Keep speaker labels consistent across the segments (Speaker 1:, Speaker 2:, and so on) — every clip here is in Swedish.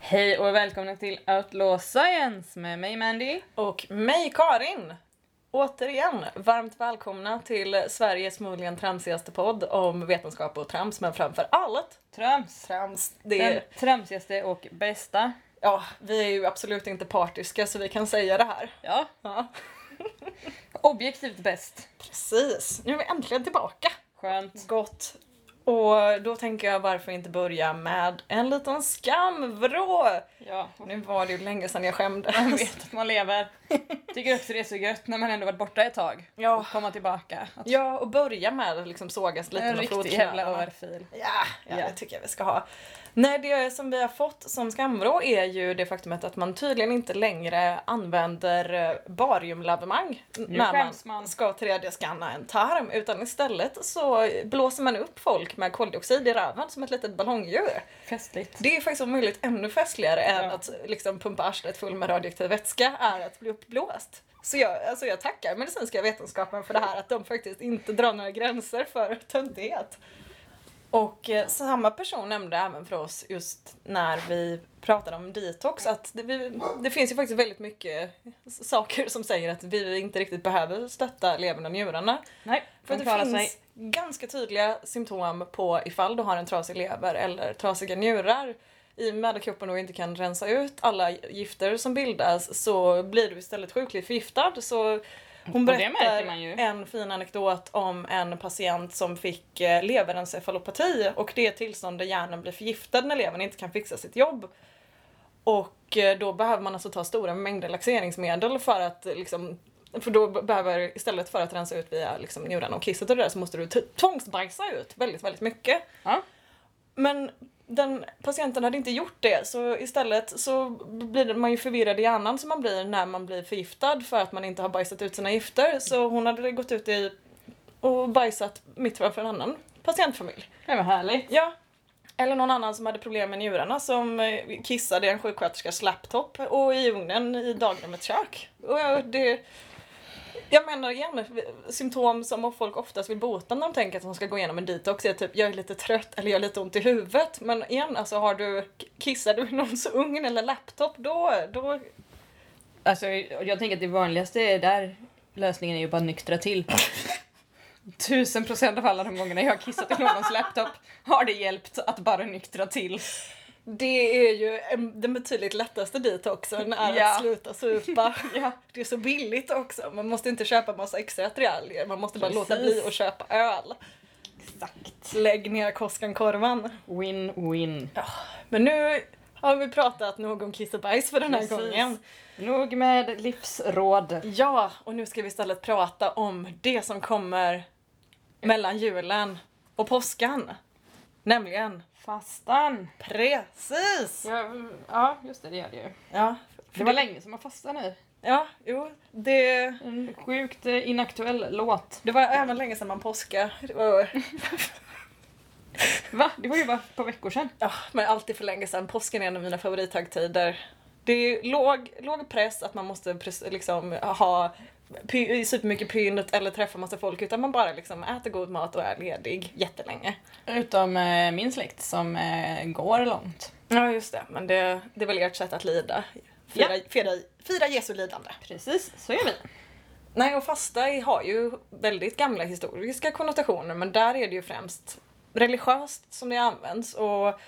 Speaker 1: Hej och välkomna till Outlaw Science med mig Mandy.
Speaker 2: Och mig Karin! Återigen, varmt välkomna till Sveriges möjligen tramsigaste podd om vetenskap och trams, men framför allt
Speaker 1: Trams!
Speaker 2: trams. Det
Speaker 1: Den
Speaker 2: är,
Speaker 1: tramsigaste och bästa.
Speaker 2: ja, vi är ju absolut inte partiska så vi kan säga det här.
Speaker 1: Ja,
Speaker 2: Ja,
Speaker 1: objektivt bäst.
Speaker 2: precis. Nu är vi äntligen tillbaka.
Speaker 1: Skönt.
Speaker 2: Gott. Och då tänker jag varför inte börja med en liten skamvrå.
Speaker 1: Ja,
Speaker 2: Nu var det ju länge sedan jag skämdes.
Speaker 1: man vet att man lever. Tycker också det är så gött när man ändå varit borta ett tag.
Speaker 2: Ja.
Speaker 1: Och komma tillbaka. Att
Speaker 2: Ja, och börja med att liksom sågas lite
Speaker 1: en
Speaker 2: med
Speaker 1: riktig
Speaker 2: fotknölarna.
Speaker 1: jävla örfil.
Speaker 2: Ja, ja,
Speaker 1: Ja.
Speaker 2: det tycker jag vi ska ha. Nej, det som vi har fått som skamvrå är ju det faktumet att man tydligen inte längre använder eh, bariumlavemang n-
Speaker 1: Nu
Speaker 2: när man,
Speaker 1: skäms man.
Speaker 2: ska 3D-skanna en tarm, utan istället så blåser man upp folk med koldioxid i röven som ett litet ballongdjur.
Speaker 1: Festligt.
Speaker 2: Det är faktiskt om möjligt ännu festligare än
Speaker 1: Ja.
Speaker 2: att liksom pumpa arslet full med radioaktiv vätska, är att bli uppblåst. Så jag, alltså jag tackar medicinska vetenskapen för det här, att de faktiskt inte drar några gränser för töntighet. Och eh, samma person nämnde även för oss just när vi pratade om detox att det, vi, det finns ju faktiskt väldigt mycket s- saker som säger att vi inte riktigt behöver stötta levern och njurarna.
Speaker 1: Nej,
Speaker 2: För
Speaker 1: de
Speaker 2: det
Speaker 1: klarar
Speaker 2: finns
Speaker 1: sig.
Speaker 2: ganska tydliga symptom på ifall du har en trasig lever eller trasiga njurar. I och med att kroppen då inte kan rensa ut alla gifter som bildas så blir du istället sjukligt förgiftad. Så hon
Speaker 1: Och det märker
Speaker 2: berättar
Speaker 1: man ju.
Speaker 2: en fin anekdot om en patient som fick eh, leverencefalopati och det är ett tillstånd där hjärnan blir förgiftad när levern inte kan fixa sitt jobb. Och eh, då behöver man alltså ta stora mängder laxeringsmedel för att eh, liksom för då b- behöver, istället för att rensa ut via liksom, njurarna och kisset och det där så måste du t- tvångsbajsa ut väldigt, väldigt mycket.
Speaker 1: Ja.
Speaker 2: Men den patienten hade inte gjort det så istället så blir man ju förvirrad i hjärnan som man blir när man blir förgiftad för att man inte har bajsat ut sina gifter. Så hon hade gått ut i och bajsat mitt framför en annan patientfamilj.
Speaker 1: Det var härligt.
Speaker 2: Ja. Eller någon annan som hade problem med njurarna som eh, kissade i en sjuksköterskas laptop och i ugnen i dagrummets kök. Och eh, det, jag menar igen, symptom som folk oftast vill bota när de tänker att de ska gå igenom en detox är typ jag är lite trött eller jag har lite ont i huvudet. Men igen, alltså har du, kissar du i någons ugn eller laptop då, då
Speaker 1: Alltså, jag tänker att det vanligaste är där lösningen är ju bara nyktra till. Tusen procent av alla de gångerna jag har kissat i någons laptop har det hjälpt att bara nyktra till.
Speaker 2: det är ju en, den betydligt lättaste detoxen är
Speaker 1: Ja.
Speaker 2: att sluta supa.
Speaker 1: Ja.
Speaker 2: Det är så billigt också. Man måste inte köpa massa extra attiraljer. Man måste bara låta
Speaker 1: Precis.
Speaker 2: bli att köpa öl.
Speaker 1: Exakt.
Speaker 2: Lägg ner Koskenkorvan.
Speaker 1: Win-win.
Speaker 2: Men nu har vi pratat nog om kiss och bajs för den här
Speaker 1: Precis.
Speaker 2: gången.
Speaker 1: Nog med livsråd.
Speaker 2: Ja, och nu ska vi istället prata om det som kommer mellan julen och påskan. Nämligen
Speaker 1: Fastan.
Speaker 2: precis!
Speaker 1: Ja, ja just det, det gör det ju.
Speaker 2: Ja,
Speaker 1: Det var länge som man fastade nu.
Speaker 2: ja jo, det,
Speaker 1: En sjukt eh, inaktuell låt.
Speaker 2: det var även länge sedan man påska. Det var-
Speaker 1: Va? Det var ju bara ett par veckor sedan.
Speaker 2: Ja, men alltid för länge sedan. Påsken är en av mina favorithögtider. Det är låg, låg press att man måste pres- liksom ha py- supermycket pynt eller träffa massa folk utan man bara liksom äter god mat och är ledig jättelänge.
Speaker 1: Utom eh, min släkt som eh, går långt.
Speaker 2: Ja just det, men det, det är väl ert sätt att lida. Fira, fira, fira Jesu lidande.
Speaker 1: Precis, så är vi.
Speaker 2: Nej och fasta har ju väldigt gamla historiska konnotationer men där är det ju främst religiöst som det används och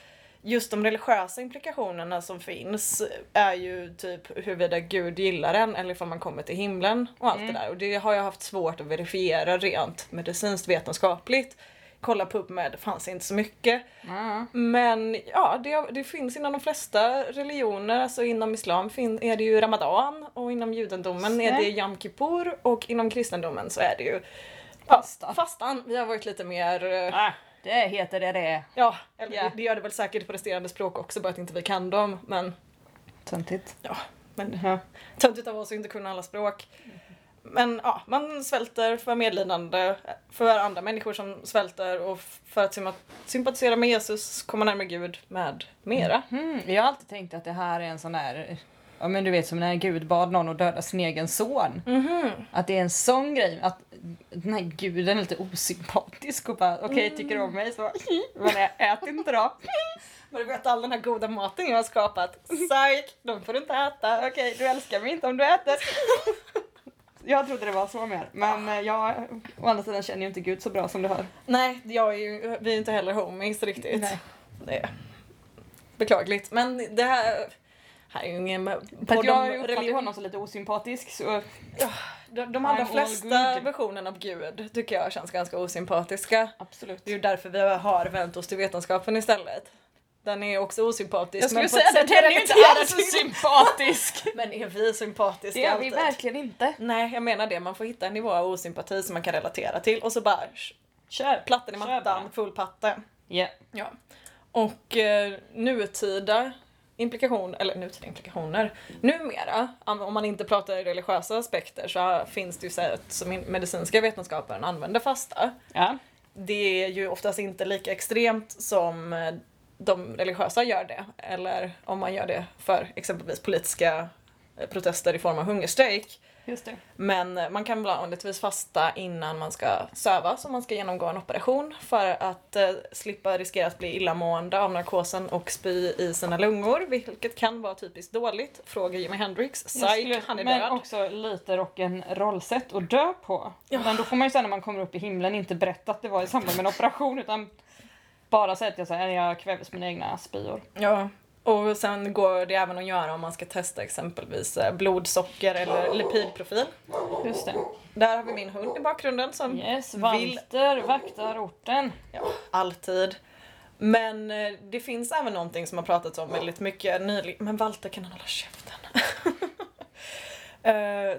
Speaker 2: just de religiösa implikationerna som finns är ju typ huruvida Gud gillar en eller ifall man kommer till himlen och allt det där och det har jag haft svårt att verifiera rent medicinskt vetenskapligt. Kolla på PubMed, det fanns inte så mycket.
Speaker 1: Ja.
Speaker 2: Men ja, det, det finns inom de flesta religioner, alltså inom islam fin, är det ju ramadan och inom judendomen är det yom kippur och inom kristendomen så är det ju
Speaker 1: Pasta.
Speaker 2: fastan. Vi har varit lite mer, eh,
Speaker 1: Ah, det heter det det.
Speaker 2: ja, eller
Speaker 1: Ja.
Speaker 2: det- det gör det väl säkert på resterande språk också bara att inte vi kan dem, men
Speaker 1: Töntigt.
Speaker 2: ja, men
Speaker 1: Ja.
Speaker 2: töntigt av oss att inte kunna alla språk. Men ja, man svälter för medlidande för andra människor som svälter och f- för att sympa- sympatisera med Jesus, komma närmare Gud med mera.
Speaker 1: Mm, jag har alltid tänkt att det här är en sån där, ja men du vet som när Gud bad någon att döda sin egen son.
Speaker 2: Mhm.
Speaker 1: Att det är en sån grej, att den här guden "Mm, är lite osympatisk och bara okej tycker du om mig så bara, men jag äter inte då.
Speaker 2: Men du vet all den här goda maten jag har skapat. Psyk! De får du inte äta.
Speaker 1: Okej, du älskar mig inte om du äter. Jag trodde det var så mer, men eh, jag å andra sidan känner ju inte Gud så bra som du hör.
Speaker 2: Nej, jag är ju, vi är inte heller homies riktigt.
Speaker 1: Nej.
Speaker 2: Det är beklagligt. Men det här, här är ju ingen
Speaker 1: För
Speaker 2: podd
Speaker 1: att
Speaker 2: om
Speaker 1: jag uppfattar
Speaker 2: religion.
Speaker 1: honom som lite osympatisk så
Speaker 2: De, de allra
Speaker 1: I'm all
Speaker 2: flesta
Speaker 1: good.
Speaker 2: versionerna av Gud tycker jag känns ganska osympatiska.
Speaker 1: absolut.
Speaker 2: Det är ju därför vi har vänt oss till vetenskapen istället. Den är också osympatisk.
Speaker 1: Jag skulle
Speaker 2: men på
Speaker 1: säga
Speaker 2: ett sätt
Speaker 1: att den är ju inte
Speaker 2: relaterar till-
Speaker 1: alls sympatisk.
Speaker 2: Men är vi sympatiska
Speaker 1: Det är vi
Speaker 2: alltid?
Speaker 1: verkligen inte.
Speaker 2: Nej, jag menar det. Man får hitta en nivå av osympati som man kan relatera till och så bara sh-
Speaker 1: Kör.
Speaker 2: platten i
Speaker 1: Kör
Speaker 2: mattan,
Speaker 1: bara.
Speaker 2: full patte.
Speaker 1: Ja.
Speaker 2: Ja. Och eh, nutida implikationer, eller nutida implikationer, numera, om man inte pratar religiösa aspekter så finns det ju sätt som in- medicinska vetenskapen använder fasta.
Speaker 1: ja.
Speaker 2: Det är ju oftast inte lika extremt som eh, de religiösa gör det, eller om man gör det för exempelvis politiska eh, protester i form av hungerstrejk.
Speaker 1: Just det.
Speaker 2: Men eh, man kan vanligtvis fasta innan man ska sövas och man ska genomgå en operation för att eh, slippa riskera att bli illamående av narkosen och spy i sina lungor, vilket kan vara typiskt dåligt. Fråga Jimi Hendrix.
Speaker 1: Jag
Speaker 2: Psych, han är
Speaker 1: men
Speaker 2: död.
Speaker 1: också lite rock'n'roll-sätt att dö på.
Speaker 2: Ja.
Speaker 1: Men då får man ju sen när man kommer upp i himlen inte berätta att det var i samband med en operation utan bara säga att jag, så här, jag kvävdes med mina egna spyor.
Speaker 2: Ja. Och sen går det även att göra om man ska testa exempelvis eh, blodsocker eller lipidprofil.
Speaker 1: Just det.
Speaker 2: Där har vi min hund i bakgrunden som
Speaker 1: Yes,
Speaker 2: Vill-
Speaker 1: Walter vaktar orten.
Speaker 2: ja, alltid. Men eh, det finns även någonting som har pratats om väldigt mycket nyligen. Men Walter kan han hålla käften? Eh,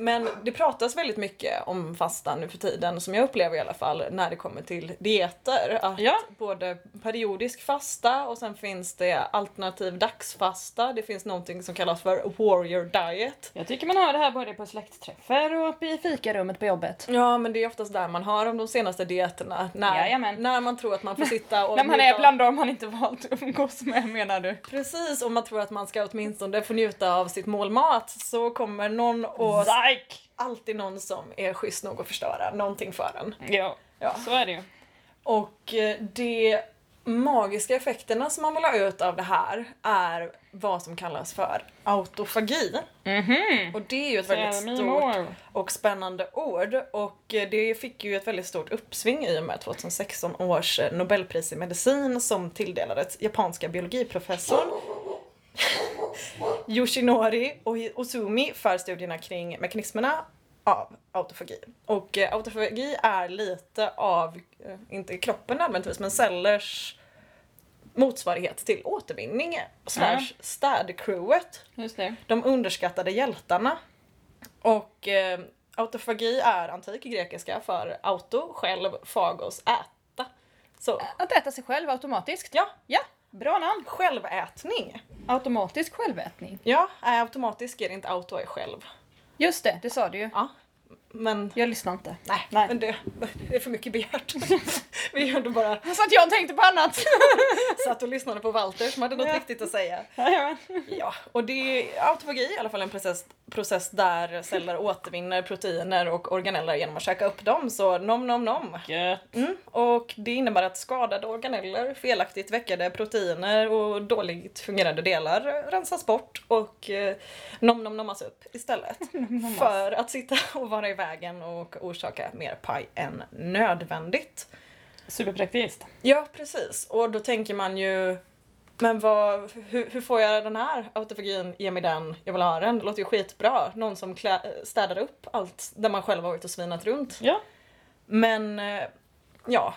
Speaker 2: Men det pratas väldigt mycket om fastan nu för tiden, som jag upplever i alla fall, när det kommer till dieter. Att
Speaker 1: Ja.
Speaker 2: Både periodisk fasta och sen finns det alternativ dagsfasta. Det finns någonting som kallas för warrior diet.
Speaker 1: Jag tycker man hör det här både på släktträffar och uppe i fikarummet på jobbet.
Speaker 2: Ja, men det är oftast där man har om de senaste dieterna. När,
Speaker 1: Jajamän.
Speaker 2: när man tror att man får sitta och
Speaker 1: När man
Speaker 2: njuta
Speaker 1: är
Speaker 2: av-
Speaker 1: bland dem man inte valt att umgås med menar du?
Speaker 2: Precis, om man tror att man ska åtminstone få njuta av sitt målmat så kommer någon och
Speaker 1: Psyk!
Speaker 2: alltid någon som är schysst nog att förstöra någonting för en.
Speaker 1: Ja,
Speaker 2: Ja.
Speaker 1: så är det ju.
Speaker 2: Och eh, de magiska effekterna som man vill ha ut av det här är vad som kallas för autofagi.
Speaker 1: Mhm.
Speaker 2: Och det är ju ett
Speaker 1: Tell
Speaker 2: väldigt
Speaker 1: me
Speaker 2: stort
Speaker 1: more.
Speaker 2: och spännande ord och eh, det fick ju ett väldigt stort uppsving i och med 2016 års eh, nobelpris i medicin som tilldelades japanska biologiprofessorn Yoshinori Ohi- Ozumi för studierna kring mekanismerna av autofagi. Och eh, autofagi är lite av, eh, inte kroppen nödvändigtvis, men cellers motsvarighet till återvinning slash städcrewet
Speaker 1: Just det.
Speaker 2: de underskattade hjältarna. Och eh, autofagi är antik grekiska för auto, själv, fagos, äta. Så
Speaker 1: Att äta sig själv automatiskt.
Speaker 2: ja,
Speaker 1: Ja, bra namn.
Speaker 2: självätning.
Speaker 1: Automatisk självätning.
Speaker 2: Ja, är automatisk är det inte auto är själv.
Speaker 1: Just det, det sa du ju.
Speaker 2: Ja, men
Speaker 1: Jag lyssnade inte.
Speaker 2: nej,
Speaker 1: Nej.
Speaker 2: Men det, det är för mycket begärt. Vi gjorde bara
Speaker 1: Så att jag tänkte på annat.
Speaker 2: satt och lyssnade på Walter som hade något
Speaker 1: Ja.
Speaker 2: viktigt att säga.
Speaker 1: Jajamän.
Speaker 2: Ja, och det är autofagi i alla fall en process, process där celler återvinner proteiner och organeller genom att käka upp dem. Så nom nom nom.
Speaker 1: Gött.
Speaker 2: Mm, och det innebär att skadade organeller, felaktigt väckade proteiner och dåligt fungerande delar rensas bort och eh, nom nom nommas upp istället. för att sitta och vara i vägen och orsaka mer paj än nödvändigt.
Speaker 1: Superpraktiskt.
Speaker 2: Ja, precis. Och då tänker man ju, men vad, hur, hur får jag den här autofagin? Ge mig den, jag vill ha den. Det låter ju skitbra. Någon som klä, städar upp allt där man själv har varit och svinat runt.
Speaker 1: Ja.
Speaker 2: Men eh, ja,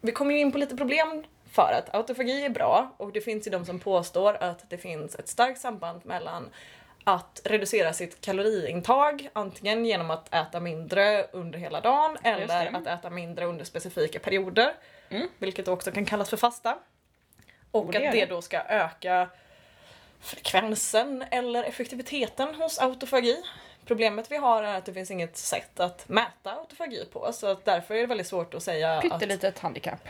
Speaker 2: vi kommer ju in på lite problem för att autofagi är bra och det finns ju de som påstår att det finns ett starkt samband mellan att reducera sitt kaloriintag antingen genom att äta mindre under hela dagen eller
Speaker 1: det.
Speaker 2: att äta mindre under specifika perioder. Vilket också kan kallas för fasta. Och
Speaker 1: Och det
Speaker 2: att
Speaker 1: är
Speaker 2: det
Speaker 1: det.
Speaker 2: då ska öka frekvensen eller effektiviteten hos autofagi. Problemet vi har är att det finns inget sätt att mäta autofagi på så att därför är det väldigt svårt att säga att
Speaker 1: Pyttelitet handikapp.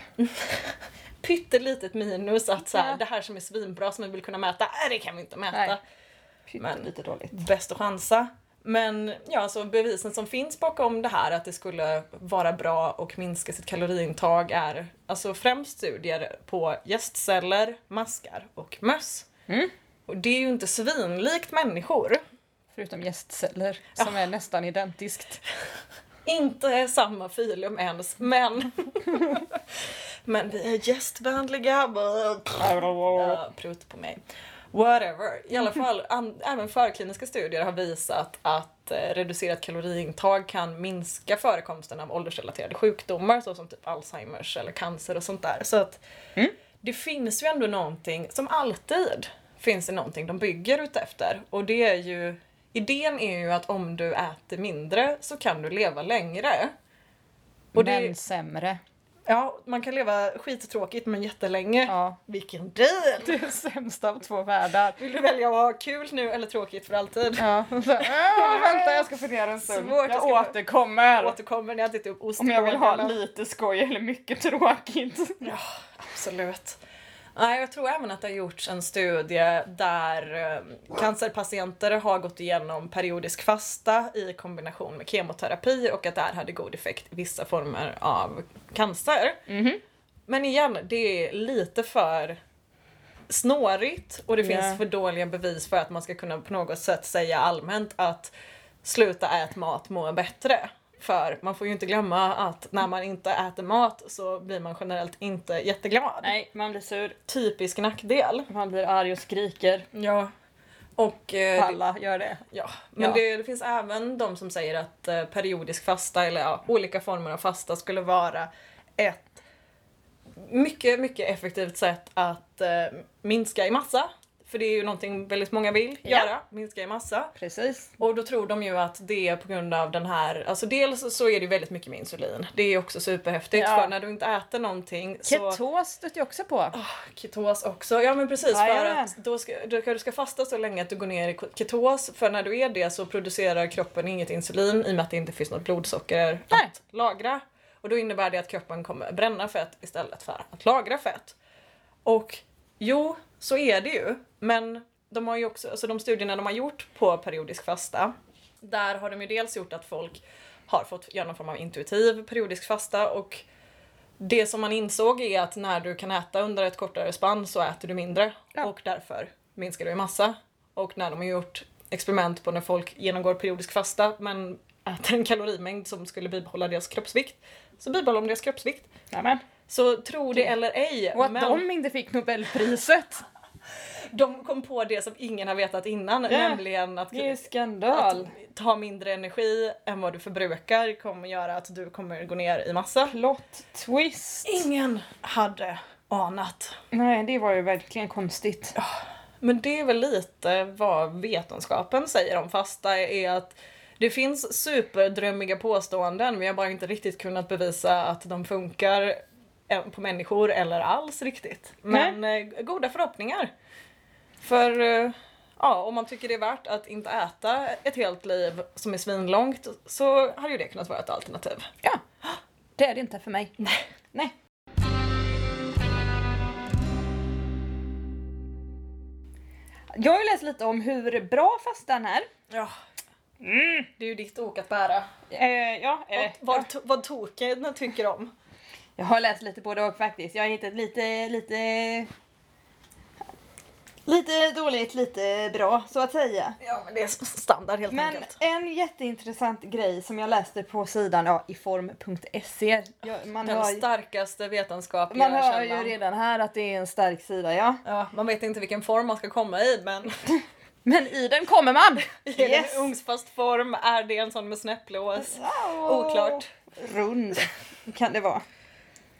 Speaker 2: pyttelitet minus att så här,
Speaker 1: Ja.
Speaker 2: det här som är svinbra som vi vill kunna mäta, äh, det kan vi inte mäta.
Speaker 1: Nej.
Speaker 2: Men-
Speaker 1: Pyttelite dåligt.
Speaker 2: Bäst att chansa. Men ja, alltså bevisen som finns bakom det här att det skulle vara bra och minska sitt kaloriintag är alltså främst studier på gästceller, maskar och möss.
Speaker 1: Mm.
Speaker 2: Och det är ju inte svinlikt människor.
Speaker 1: Förutom gästceller som är nästan identiskt.
Speaker 2: Inte samma filum ens, men... men vi är gästvänliga. Ja, Prut på mig. Whatever. I alla fall, an- även förkliniska studier har visat att eh, reducerat kaloriintag kan minska förekomsten av åldersrelaterade sjukdomar såsom typ Alzheimers eller cancer och sånt där. Så att
Speaker 1: Mm.
Speaker 2: det finns ju ändå någonting, som alltid finns det någonting de bygger utefter. Och det är ju, idén är ju att om du äter mindre så kan du leva längre. Och det,
Speaker 1: Men sämre.
Speaker 2: ja, man kan leva skittråkigt men jättelänge.
Speaker 1: Ja.
Speaker 2: Vilken deal!
Speaker 1: Det är sämsta av två världar.
Speaker 2: Vill du välja att ha kul nu eller tråkigt för alltid?
Speaker 1: Ja, så, äh, vänta jag ska fundera en stund.
Speaker 2: Svårt, jag
Speaker 1: jag
Speaker 2: ska-
Speaker 1: återkommer.
Speaker 2: Jag återkommer när jag ätit upp ost
Speaker 1: Om jag vill ha
Speaker 2: eller-
Speaker 1: lite skoj eller mycket tråkigt.
Speaker 2: Absolut. Nej, jag tror även att det har gjorts en studie där eh, cancerpatienter har gått igenom periodisk fasta i kombination med kemoterapi och att det här hade god effekt i vissa former av cancer.
Speaker 1: Mhm.
Speaker 2: Men igen, det är lite för snårigt och det
Speaker 1: Ja.
Speaker 2: finns för dåliga bevis för att man ska kunna på något sätt säga allmänt att sluta ät mat, må bättre. För man får ju inte glömma att när man inte äter mat så blir man generellt inte jätteglad.
Speaker 1: Nej, man blir sur,
Speaker 2: Typisk nackdel.
Speaker 1: man blir arg och skriker.
Speaker 2: Ja. Och eh, det-
Speaker 1: Alla gör det.
Speaker 2: Ja, men
Speaker 1: Ja.
Speaker 2: Det, det finns även de som säger att eh, periodisk fasta eller ja, olika former av fasta skulle vara ett mycket, mycket effektivt sätt att eh, minska i massa. För det är ju någonting väldigt många vill
Speaker 1: Ja.
Speaker 2: göra, minska i massa.
Speaker 1: Precis.
Speaker 2: Och då tror de ju att det är på grund av den här, alltså dels så är det väldigt mycket med insulin. Det är ju också superhäftigt
Speaker 1: Ja.
Speaker 2: för när du inte äter någonting så...
Speaker 1: Ketos stötte jag också på.
Speaker 2: Ketos också, ja men precis. För
Speaker 1: Jajamän.
Speaker 2: att då ska, då ska du ska fasta så länge att du går ner i ketos. För när du är det så producerar kroppen inget insulin i och med att det inte finns något blodsocker
Speaker 1: Nej.
Speaker 2: att lagra. Och då innebär det att kroppen kommer bränna fett istället för att lagra fett. Och jo, så är det ju. Men de, har ju också, alltså de studierna de har gjort på periodisk fasta, där har de ju dels gjort att folk har fått göra någon form av intuitiv periodisk fasta och det som man insåg är att när du kan äta under ett kortare spann så äter du mindre
Speaker 1: Ja.
Speaker 2: och därför minskar du i massa. Och när de har gjort experiment på när folk genomgår periodisk fasta men äter en kalorimängd som skulle bibehålla deras kroppsvikt så bibehåller de deras kroppsvikt.
Speaker 1: Nämen.
Speaker 2: Så tro det eller ej,
Speaker 1: Och att
Speaker 2: men
Speaker 1: de inte fick Nobelpriset.
Speaker 2: de kom på det som ingen har vetat innan,
Speaker 1: Ja.
Speaker 2: nämligen att,
Speaker 1: Det är
Speaker 2: att
Speaker 1: skandal.
Speaker 2: ta mindre energi än vad du förbrukar kommer göra att du kommer gå ner i massa.
Speaker 1: Plot twist.
Speaker 2: Ingen hade anat.
Speaker 1: Nej, det var ju verkligen konstigt.
Speaker 2: Men det är väl lite vad vetenskapen säger om fasta är att det finns superdrömmiga påståenden vi har bara inte riktigt kunnat bevisa att de funkar eh, på människor eller alls riktigt. Men eh, goda förhoppningar. För eh, ja, om man tycker det är värt att inte äta ett helt liv som är svinlångt så hade ju det kunnat vara ett alternativ.
Speaker 1: Ja. Det är det inte för mig. Nej. Nej. Jag har ju läst lite om hur bra fastan är.
Speaker 2: Ja. Det är ju ditt ok att bära.
Speaker 1: Eh, ja,
Speaker 2: Vad,
Speaker 1: eh, ja.
Speaker 2: vad, to- vad token tycker om.
Speaker 1: Jag har läst lite både och faktiskt. Jag har hittat lite, lite... Lite dåligt, lite bra, så att säga.
Speaker 2: Ja men det är standard helt
Speaker 1: Men
Speaker 2: enkelt.
Speaker 1: en jätteintressant grej som jag läste på sidan ja, iform.se. Jag- E. Man
Speaker 2: Den
Speaker 1: hör, ju-
Speaker 2: starkaste vetenskapliga
Speaker 1: man hör ju
Speaker 2: källan.
Speaker 1: redan här att det är en stark sida, ja.
Speaker 2: Ja, man vet inte vilken form man ska komma i men
Speaker 1: Men i den kommer man!
Speaker 2: i en ugnsfast form är det en sån med snäpplås.
Speaker 1: Wow.
Speaker 2: Oklart.
Speaker 1: Rund kan det vara.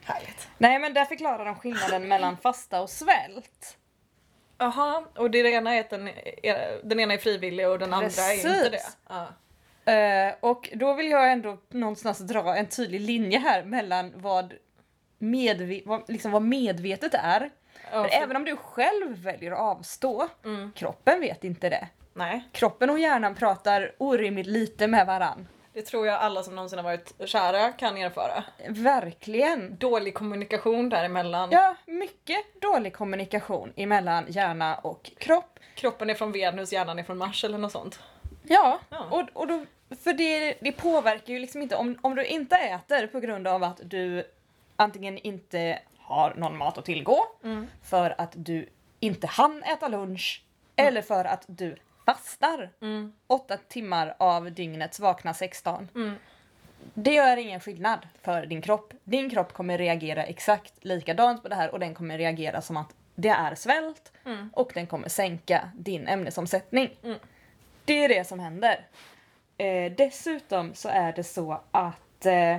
Speaker 2: Härligt.
Speaker 1: Nej men där förklarar de skillnaden mellan fasta och svält.
Speaker 2: Jaha, och det ena är att den, är, den ena är frivillig och den andra är inte det.
Speaker 1: Precis.
Speaker 2: Ja.
Speaker 1: Eh, och då vill jag ändå någonstans dra en tydlig linje här mellan vad, medve- vad, liksom vad medvetet är.
Speaker 2: Ja,
Speaker 1: För
Speaker 2: för-
Speaker 1: även om du själv väljer att avstå,
Speaker 2: Mm.
Speaker 1: kroppen vet inte det.
Speaker 2: Nej,
Speaker 1: Kroppen och hjärnan pratar orimligt lite med varann.
Speaker 2: det tror jag alla som någonsin har varit kära kan erfara.
Speaker 1: Verkligen.
Speaker 2: Dålig kommunikation däremellan.
Speaker 1: Ja, mycket dålig kommunikation emellan hjärna och kropp.
Speaker 2: Kroppen är från Venus, hjärnan är från Mars eller något sånt.
Speaker 1: Ja,
Speaker 2: Ja.
Speaker 1: och, och då, för det, det påverkar ju liksom inte om, om du inte äter på grund av att du antingen inte har någon mat att tillgå,
Speaker 2: Mm.
Speaker 1: för att du inte hann äta lunch eller för att du fastar
Speaker 2: Mm.
Speaker 1: åtta timmar av dygnets vakna 16.
Speaker 2: Mm.
Speaker 1: Det gör ingen skillnad för din kropp. Din kropp kommer reagera exakt likadant på det här och den kommer reagera som att det är svält
Speaker 2: Mm.
Speaker 1: och den kommer sänka din ämnesomsättning.
Speaker 2: Mm.
Speaker 1: Det är det som händer. Eh, dessutom så är det så att eh,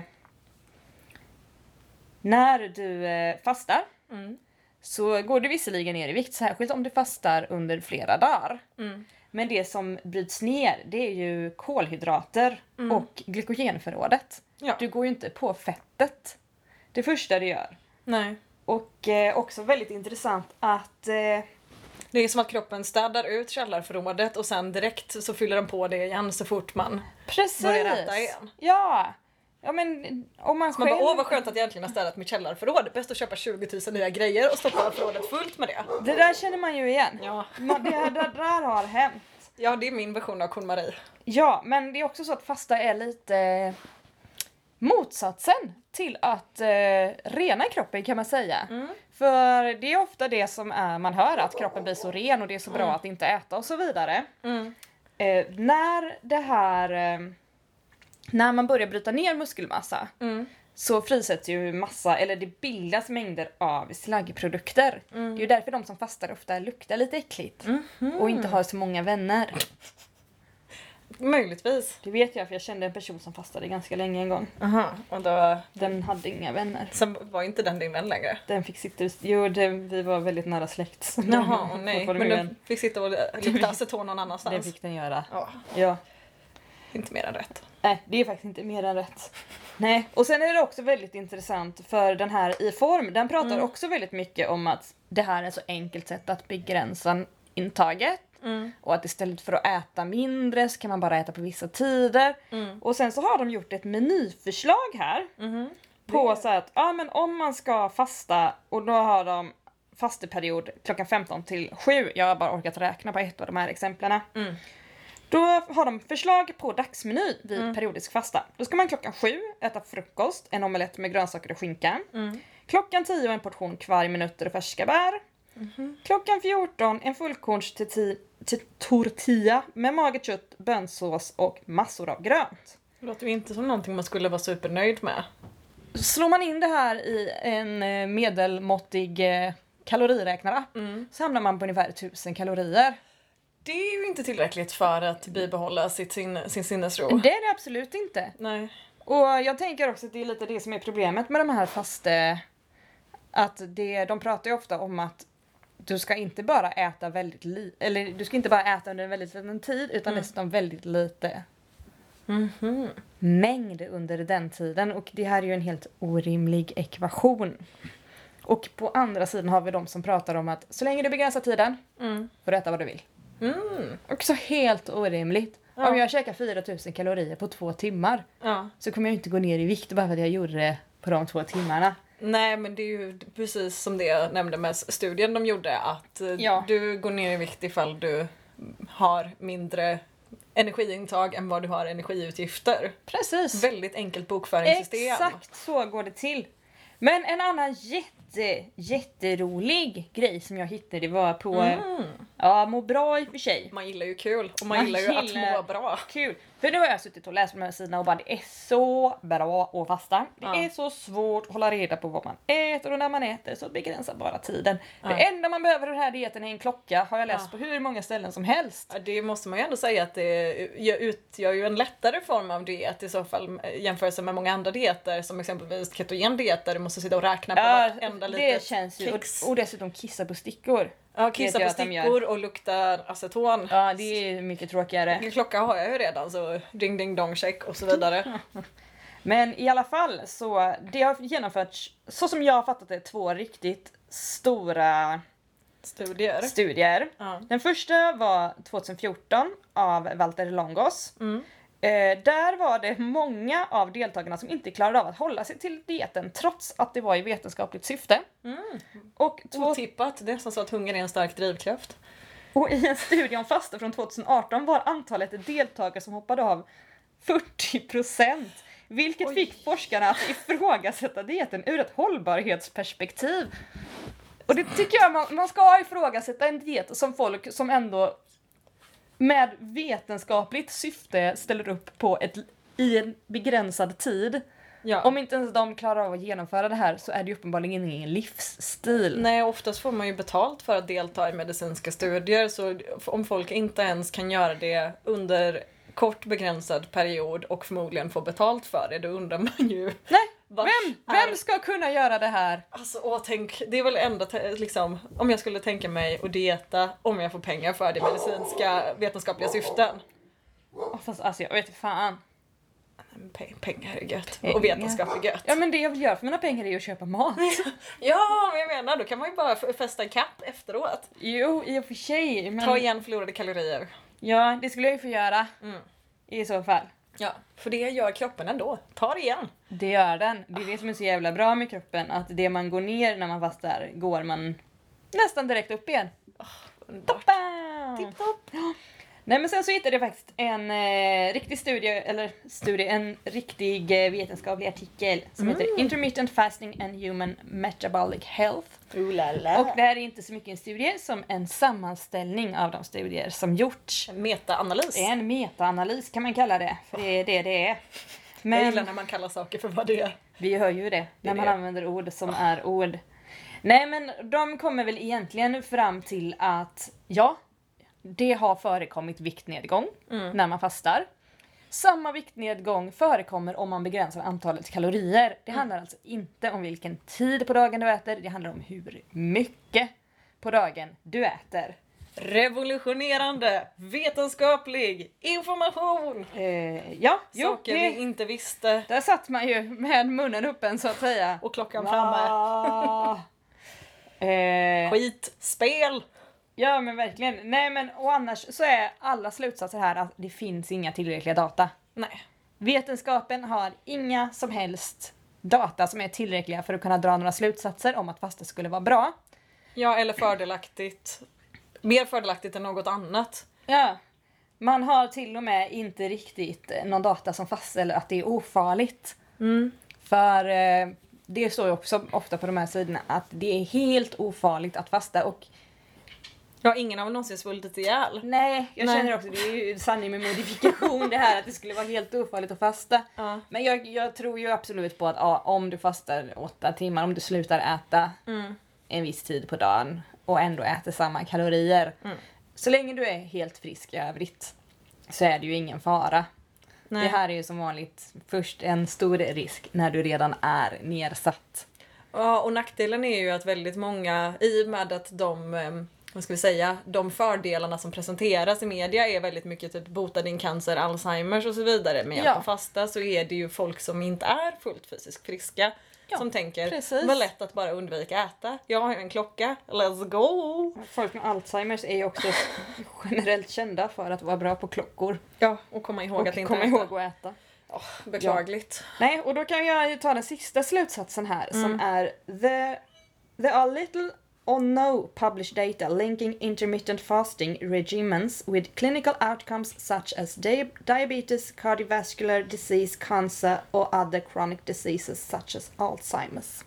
Speaker 1: när du eh, fastar
Speaker 2: Mm.
Speaker 1: så går du visserligen ner i vikt, särskilt om du fastar under flera dagar.
Speaker 2: Mm.
Speaker 1: Men det som bryts ner det är ju kolhydrater
Speaker 2: Mm.
Speaker 1: och glykogenförrådet.
Speaker 2: Ja.
Speaker 1: Du går ju inte på fettet. Det första du gör.
Speaker 2: Nej.
Speaker 1: Och eh, också väldigt intressant att eh,
Speaker 2: Det är som att kroppen städar ut källarförrådet och sen direkt så fyller den på det igen så fort man...
Speaker 1: Precis!
Speaker 2: Börja äta igen.
Speaker 1: Ja! Ja men om man
Speaker 2: Man
Speaker 1: själv...
Speaker 2: bara åh vad skönt att jag äntligen har städat mitt källarförråd. Bäst att köpa 20 000 nya grejer och stoppa förrådet fullt med det.
Speaker 1: Det där känner man ju igen.
Speaker 2: Ja,
Speaker 1: Man, det, här, det där har hänt.
Speaker 2: ja det är min version av Kon-Marie.
Speaker 1: Ja, men det är också så att fasta är lite eh, motsatsen till att eh, rena kroppen kan man säga.
Speaker 2: Mm.
Speaker 1: För det är ofta det som är, man hör, att kroppen blir så ren och det är så bra
Speaker 2: Mm.
Speaker 1: att inte äta och så vidare. Eh, när det här... Eh, när man börjar bryta ner muskelmassa
Speaker 2: Mm.
Speaker 1: så frisätts ju massa, eller det bildas mängder av slaggprodukter.
Speaker 2: Mm.
Speaker 1: Det är ju därför de som fastar ofta luktar lite äckligt
Speaker 2: Mhm.
Speaker 1: och inte har så många vänner.
Speaker 2: Möjligtvis.
Speaker 1: Det vet jag för jag kände en person som fastade ganska länge en gång.
Speaker 2: Aha. Och då,
Speaker 1: Den hade inga vänner.
Speaker 2: sen var inte den din vän längre.
Speaker 1: Den fick sitta i... Jo, det, vi var väldigt nära släkt. så den
Speaker 2: Jaha, åh,
Speaker 1: var
Speaker 2: Mm, nej. Men
Speaker 1: fortfarande min
Speaker 2: du
Speaker 1: vän.
Speaker 2: fick sitta och lyfta aceton någon
Speaker 1: det
Speaker 2: annanstans.
Speaker 1: fick den göra.
Speaker 2: Ja,
Speaker 1: Ja.
Speaker 2: inte mer än rätt.
Speaker 1: Nej, det är faktiskt inte mer än rätt. Nej, och sen är det också väldigt intressant för den här i form, den pratar
Speaker 2: Mm.
Speaker 1: också väldigt mycket om att det här är ett så enkelt sätt att begränsa intaget
Speaker 2: Mm,
Speaker 1: och att istället för att äta mindre så kan man bara äta på vissa tider.
Speaker 2: Mm.
Speaker 1: Och sen så har de gjort ett menyförslag här
Speaker 2: Mhm.
Speaker 1: på
Speaker 2: Det-
Speaker 1: så här att ja, men om man ska fasta och då har de fasteperiod klockan 15 till 7. Jag har bara orkat räkna på ett av de här exemplen.
Speaker 2: Mm.
Speaker 1: Då har de förslag på dagsmeny vid
Speaker 2: Mm.
Speaker 1: periodisk fasta. Då ska man klockan 7 äta frukost, en omelett med grönsaker och skinka.
Speaker 2: Mm.
Speaker 1: Klockan 10 en portion kvarg med nötter och färska bär. Klockan 14 en fullkorns till ti- till tortilla med magert kött, bönsås och massor av grönt.
Speaker 2: Det låter ju inte som någonting man skulle vara supernöjd med.
Speaker 1: Slår man in det här i en eh, medelmåttig eh, kaloriräknarapp
Speaker 2: Mm.
Speaker 1: så hamnar man på ungefär 1000 kalorier.
Speaker 2: Det är ju inte tillräckligt för att bibehålla sitt sin, sin sinnesro.
Speaker 1: Det är det absolut inte.
Speaker 2: Nej.
Speaker 1: Och jag tänker också att det är lite det som är problemet med de här faste... Att det, de pratar ju ofta om att du ska inte bara äta väldigt li- eller du ska inte bara äta under en väldigt liten tid utan dessutom väldigt lite Mhm. mängd under den tiden och det här är ju en helt orimlig ekvation. Och på andra sidan har vi de som pratar om att så länge du begränsar tiden
Speaker 2: Mm.
Speaker 1: får du äta vad du vill.
Speaker 2: Mm.
Speaker 1: Också helt orimligt.
Speaker 2: Ja.
Speaker 1: Om jag käkar 4000 kalorier på två timmar
Speaker 2: Ja.
Speaker 1: så kommer jag inte gå ner i vikt bara för att jag gjorde det på de två timmarna.
Speaker 2: Nej men det är ju precis som det jag nämnde med studien de gjorde att eh,
Speaker 1: Ja.
Speaker 2: du går ner i vikt ifall du har mindre energiintag än vad du har energiutgifter.
Speaker 1: Precis.
Speaker 2: Väldigt enkelt bokföringssystem.
Speaker 1: Exakt så går det till. Men en annan jätte, jätterolig grej som jag hittade var på,
Speaker 2: Mm.
Speaker 1: ja må bra i och för sig,
Speaker 2: Man gillar ju kul och man,
Speaker 1: Man
Speaker 2: gillar ju
Speaker 1: gillar-
Speaker 2: att må bra.
Speaker 1: Kul! För nu har jag suttit och läst på de här sidorna och bara det är så bra att fasta. Det
Speaker 2: Ja.
Speaker 1: är så svårt att hålla reda på vad man äter och när man äter så begränsa bara tiden.
Speaker 2: Ja.
Speaker 1: Det enda man behöver i den här dieten är en klocka har jag läst
Speaker 2: Ja.
Speaker 1: på hur många ställen som helst.
Speaker 2: Ja, Det måste man ju ändå säga att det utgör ju en lättare form av diet i så fall i jämförelse med många andra dieter som exempelvis ketogen diet där du måste sitta och räkna på
Speaker 1: Ja,
Speaker 2: vartenda
Speaker 1: det
Speaker 2: litet
Speaker 1: känns ju. Och,
Speaker 2: kex.
Speaker 1: och dessutom kissa på stickor.
Speaker 2: Ja, kissa
Speaker 1: vet jag
Speaker 2: på
Speaker 1: att de gör.
Speaker 2: stickor och lukta aceton.
Speaker 1: Ja det är ju mycket tråkigare.
Speaker 2: Vilken klocka har jag ju redan så ding ding dong check och så vidare.
Speaker 1: Men i alla fall så det har genomförts, så som jag har fattat det, två riktigt stora
Speaker 2: Studier.
Speaker 1: studier.
Speaker 2: Ja.
Speaker 1: Den första var 2014 av Walter Longos.
Speaker 2: Mm.
Speaker 1: Eh, där var det många av deltagarna som inte klarade av att hålla sig till dieten trots att det var i vetenskapligt syfte. Och två,
Speaker 2: Otippat, det är som så att hunger är en stark drivkraft.
Speaker 1: Och i en studie om fasta från 2018 var antalet deltagare som hoppade av 40%. Vilket
Speaker 2: Oj.
Speaker 1: fick forskarna att ifrågasätta dieten ur ett hållbarhetsperspektiv. Och det tycker jag man, man ska ifrågasätta en diet som folk som ändå med vetenskapligt syfte ställer upp på ett, i en begränsad tid.
Speaker 2: Ja.
Speaker 1: Om inte ens de klarar av att genomföra det här så är det ju uppenbarligen ingen livsstil.
Speaker 2: Nej, oftast får man ju betalt för att delta i medicinska studier så om folk inte ens kan göra det under kort begränsad period och förmodligen får betalt för det, då undrar man ju.
Speaker 1: Nej,
Speaker 2: vart
Speaker 1: Vem,
Speaker 2: är-
Speaker 1: vem ska kunna göra det här?
Speaker 2: Alltså, åh, tänk, det är väl enda, te- liksom, om jag skulle tänka mig att dieta om jag får pengar för det i medicinska vetenskapliga syften.
Speaker 1: Åh, fast alltså jag vet inte fan.
Speaker 2: Pe- pengar är gött
Speaker 1: Pengar.
Speaker 2: och vetenskap är gött.
Speaker 1: Ja men det jag vill göra för mina pengar är ju att köpa mat.
Speaker 2: Ja, men jag menar, då kan man ju bara f- festa kapp efteråt.
Speaker 1: Jo, i och för sig. Men...
Speaker 2: Ta igen förlorade kalorier.
Speaker 1: Ja, det skulle jag ju få göra.
Speaker 2: Mm.
Speaker 1: I så fall.
Speaker 2: Ja, för det gör kroppen ändå. Ta det igen.
Speaker 1: Det gör den. Det är det som är så jävla bra med kroppen. Att det man går ner när man fastar går man nästan direkt upp igen.
Speaker 2: Underbart.
Speaker 1: Toppen!
Speaker 2: Tipptopp.
Speaker 1: Nej men sen så hittade jag faktiskt en eh, riktig studie, eller studie, en riktig eh, vetenskaplig artikel som
Speaker 2: Mm.
Speaker 1: heter Intermittent Fasting and Human Metabolic Health.
Speaker 2: Ooh la la.
Speaker 1: Och det här är inte så mycket en studie som en sammanställning av de studier som gjorts.
Speaker 2: En metaanalys.
Speaker 1: Det är en metaanalys kan man kalla det, för det är det det är.
Speaker 2: Jag
Speaker 1: Men
Speaker 2: gillar när man kallar saker för vad det är.
Speaker 1: vi hör ju det, när man
Speaker 2: det.
Speaker 1: använder ord som är ord. Nej men de kommer väl egentligen fram till att ja, det har förekommit viktnedgång
Speaker 2: Mm.
Speaker 1: när man fastar. Samma viktnedgång förekommer om man begränsar antalet kalorier.
Speaker 2: Mm.
Speaker 1: Det handlar alltså inte om vilken tid på dagen du äter, det handlar om hur mycket på dagen du äter.
Speaker 2: Revolutionerande, vetenskaplig information.
Speaker 1: Eh, ja, jo,
Speaker 2: saker vi
Speaker 1: det,
Speaker 2: inte visste.
Speaker 1: där satt man ju med munnen öppen så att säga.
Speaker 2: Och klockan framme.
Speaker 1: framme. eh,
Speaker 2: Skitspel.
Speaker 1: ja men verkligen. Nej men och annars så är alla slutsatser här att det finns inga tillräckliga data.
Speaker 2: Nej.
Speaker 1: Vetenskapen har inga som helst data som är tillräckliga för att kunna dra några slutsatser om att fasta skulle vara bra.
Speaker 2: Ja, eller fördelaktigt. Mer fördelaktigt än något annat.
Speaker 1: Ja. Man har till och med inte riktigt eh, någon data som fastställer att det är ofarligt. Mm. För eh, det står ju också ofta på de här sidorna att det är helt ofarligt att fasta och
Speaker 2: Ja, ingen har väl någonsin svultit
Speaker 1: Mm.
Speaker 2: ihjäl.
Speaker 1: Nej, jag
Speaker 2: Nej.
Speaker 1: känner också det är ju sanning med modifikation det här att det skulle vara helt ofarligt att fasta.
Speaker 2: Ja.
Speaker 1: Men jag, jag tror ju absolut på att ja, om du fastar åtta timmar, om du slutar äta
Speaker 2: Mm.
Speaker 1: en viss tid på dagen och ändå äter samma kalorier.
Speaker 2: Mm.
Speaker 1: Så länge du är helt frisk i övrigt så är det ju ingen fara.
Speaker 2: Nej.
Speaker 1: Det här är ju som vanligt först en stor risk när du redan är nedsatt.
Speaker 2: Ja, och nackdelen är ju att väldigt många, i och med att de, ehm, vad ska vi säga, de fördelarna som presenteras i media är väldigt mycket typ bota din cancer, Alzheimers och så vidare med hjälp
Speaker 1: Ja.
Speaker 2: av fasta så är det ju folk som inte är fullt fysiskt friska
Speaker 1: Ja,
Speaker 2: som tänker
Speaker 1: precis.
Speaker 2: vad lätt att bara undvika äta. Jag har ju en klocka, let's go!
Speaker 1: Folk med Alzheimers är ju också generellt kända för att vara bra på klockor.
Speaker 2: Ja, och komma ihåg att
Speaker 1: Och
Speaker 2: inte
Speaker 1: komma
Speaker 2: äta.
Speaker 1: ihåg att äta.
Speaker 2: Åh, beklagligt.
Speaker 1: Nej, och då kan jag ju ta den sista slutsatsen här som är the, there are little or no published data linking intermittent fasting regimens with clinical outcomes such as di- diabetes, cardiovascular disease, cancer or other chronic diseases such as Alzheimer's.